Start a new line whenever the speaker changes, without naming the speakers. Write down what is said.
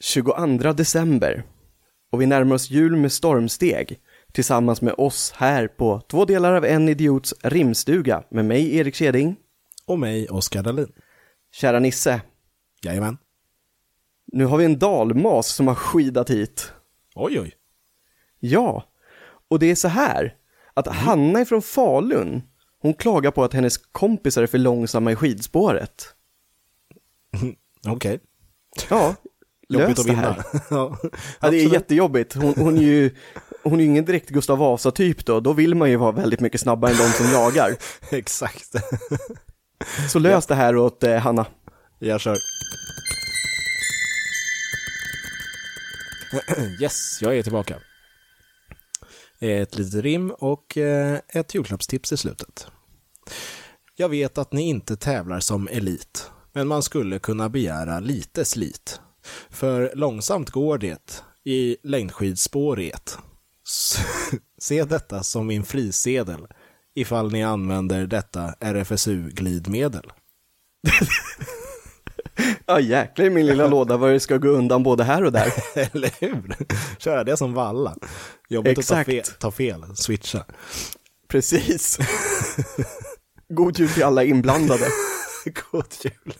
22 december och vi närmar oss jul med stormsteg tillsammans med oss här på Två delar av en idiots rimstuga med mig Erik Keding.
Och mig, Oskar Dahlin.
Kära Nisse,
Jajamän.
nu har vi en dalmas som har skidat hit.
Oj, oj.
Ja, och det är så här att
Mm.
Hanna är från Falun. Hon klagar på att hennes kompisar är för långsamma i skidspåret.
Okej.
Ja, lös
Jobbigt att
det
vinna.
här. Ja,
ja,
det är
absolut.
jättejobbigt. Hon, hon är ju hon är ju ingen direkt Gustav Vasa-typ då. Då vill man ju vara väldigt mycket snabbare än de som jagar.
Exakt.
Så lös det här åt eh, Hanna.
Jag kör. Yes, jag är tillbaka. Ett litet rim och eh, ett julklappstips i slutet. Jag vet att ni inte tävlar som elit, men man skulle kunna begära lite slit. För långsamt går det i längdskidspåret. S- Se detta som min frisedel ifall ni använder detta RFSU-glidmedel.
Ja, jäklar i min lilla låda vad det ska gå undan både här och där.
Eller hur? Köra det som valla. Jobbigt
Exakt.
att ta fel, ta fel, switcha.
Precis. God jul till alla inblandade.
God jul.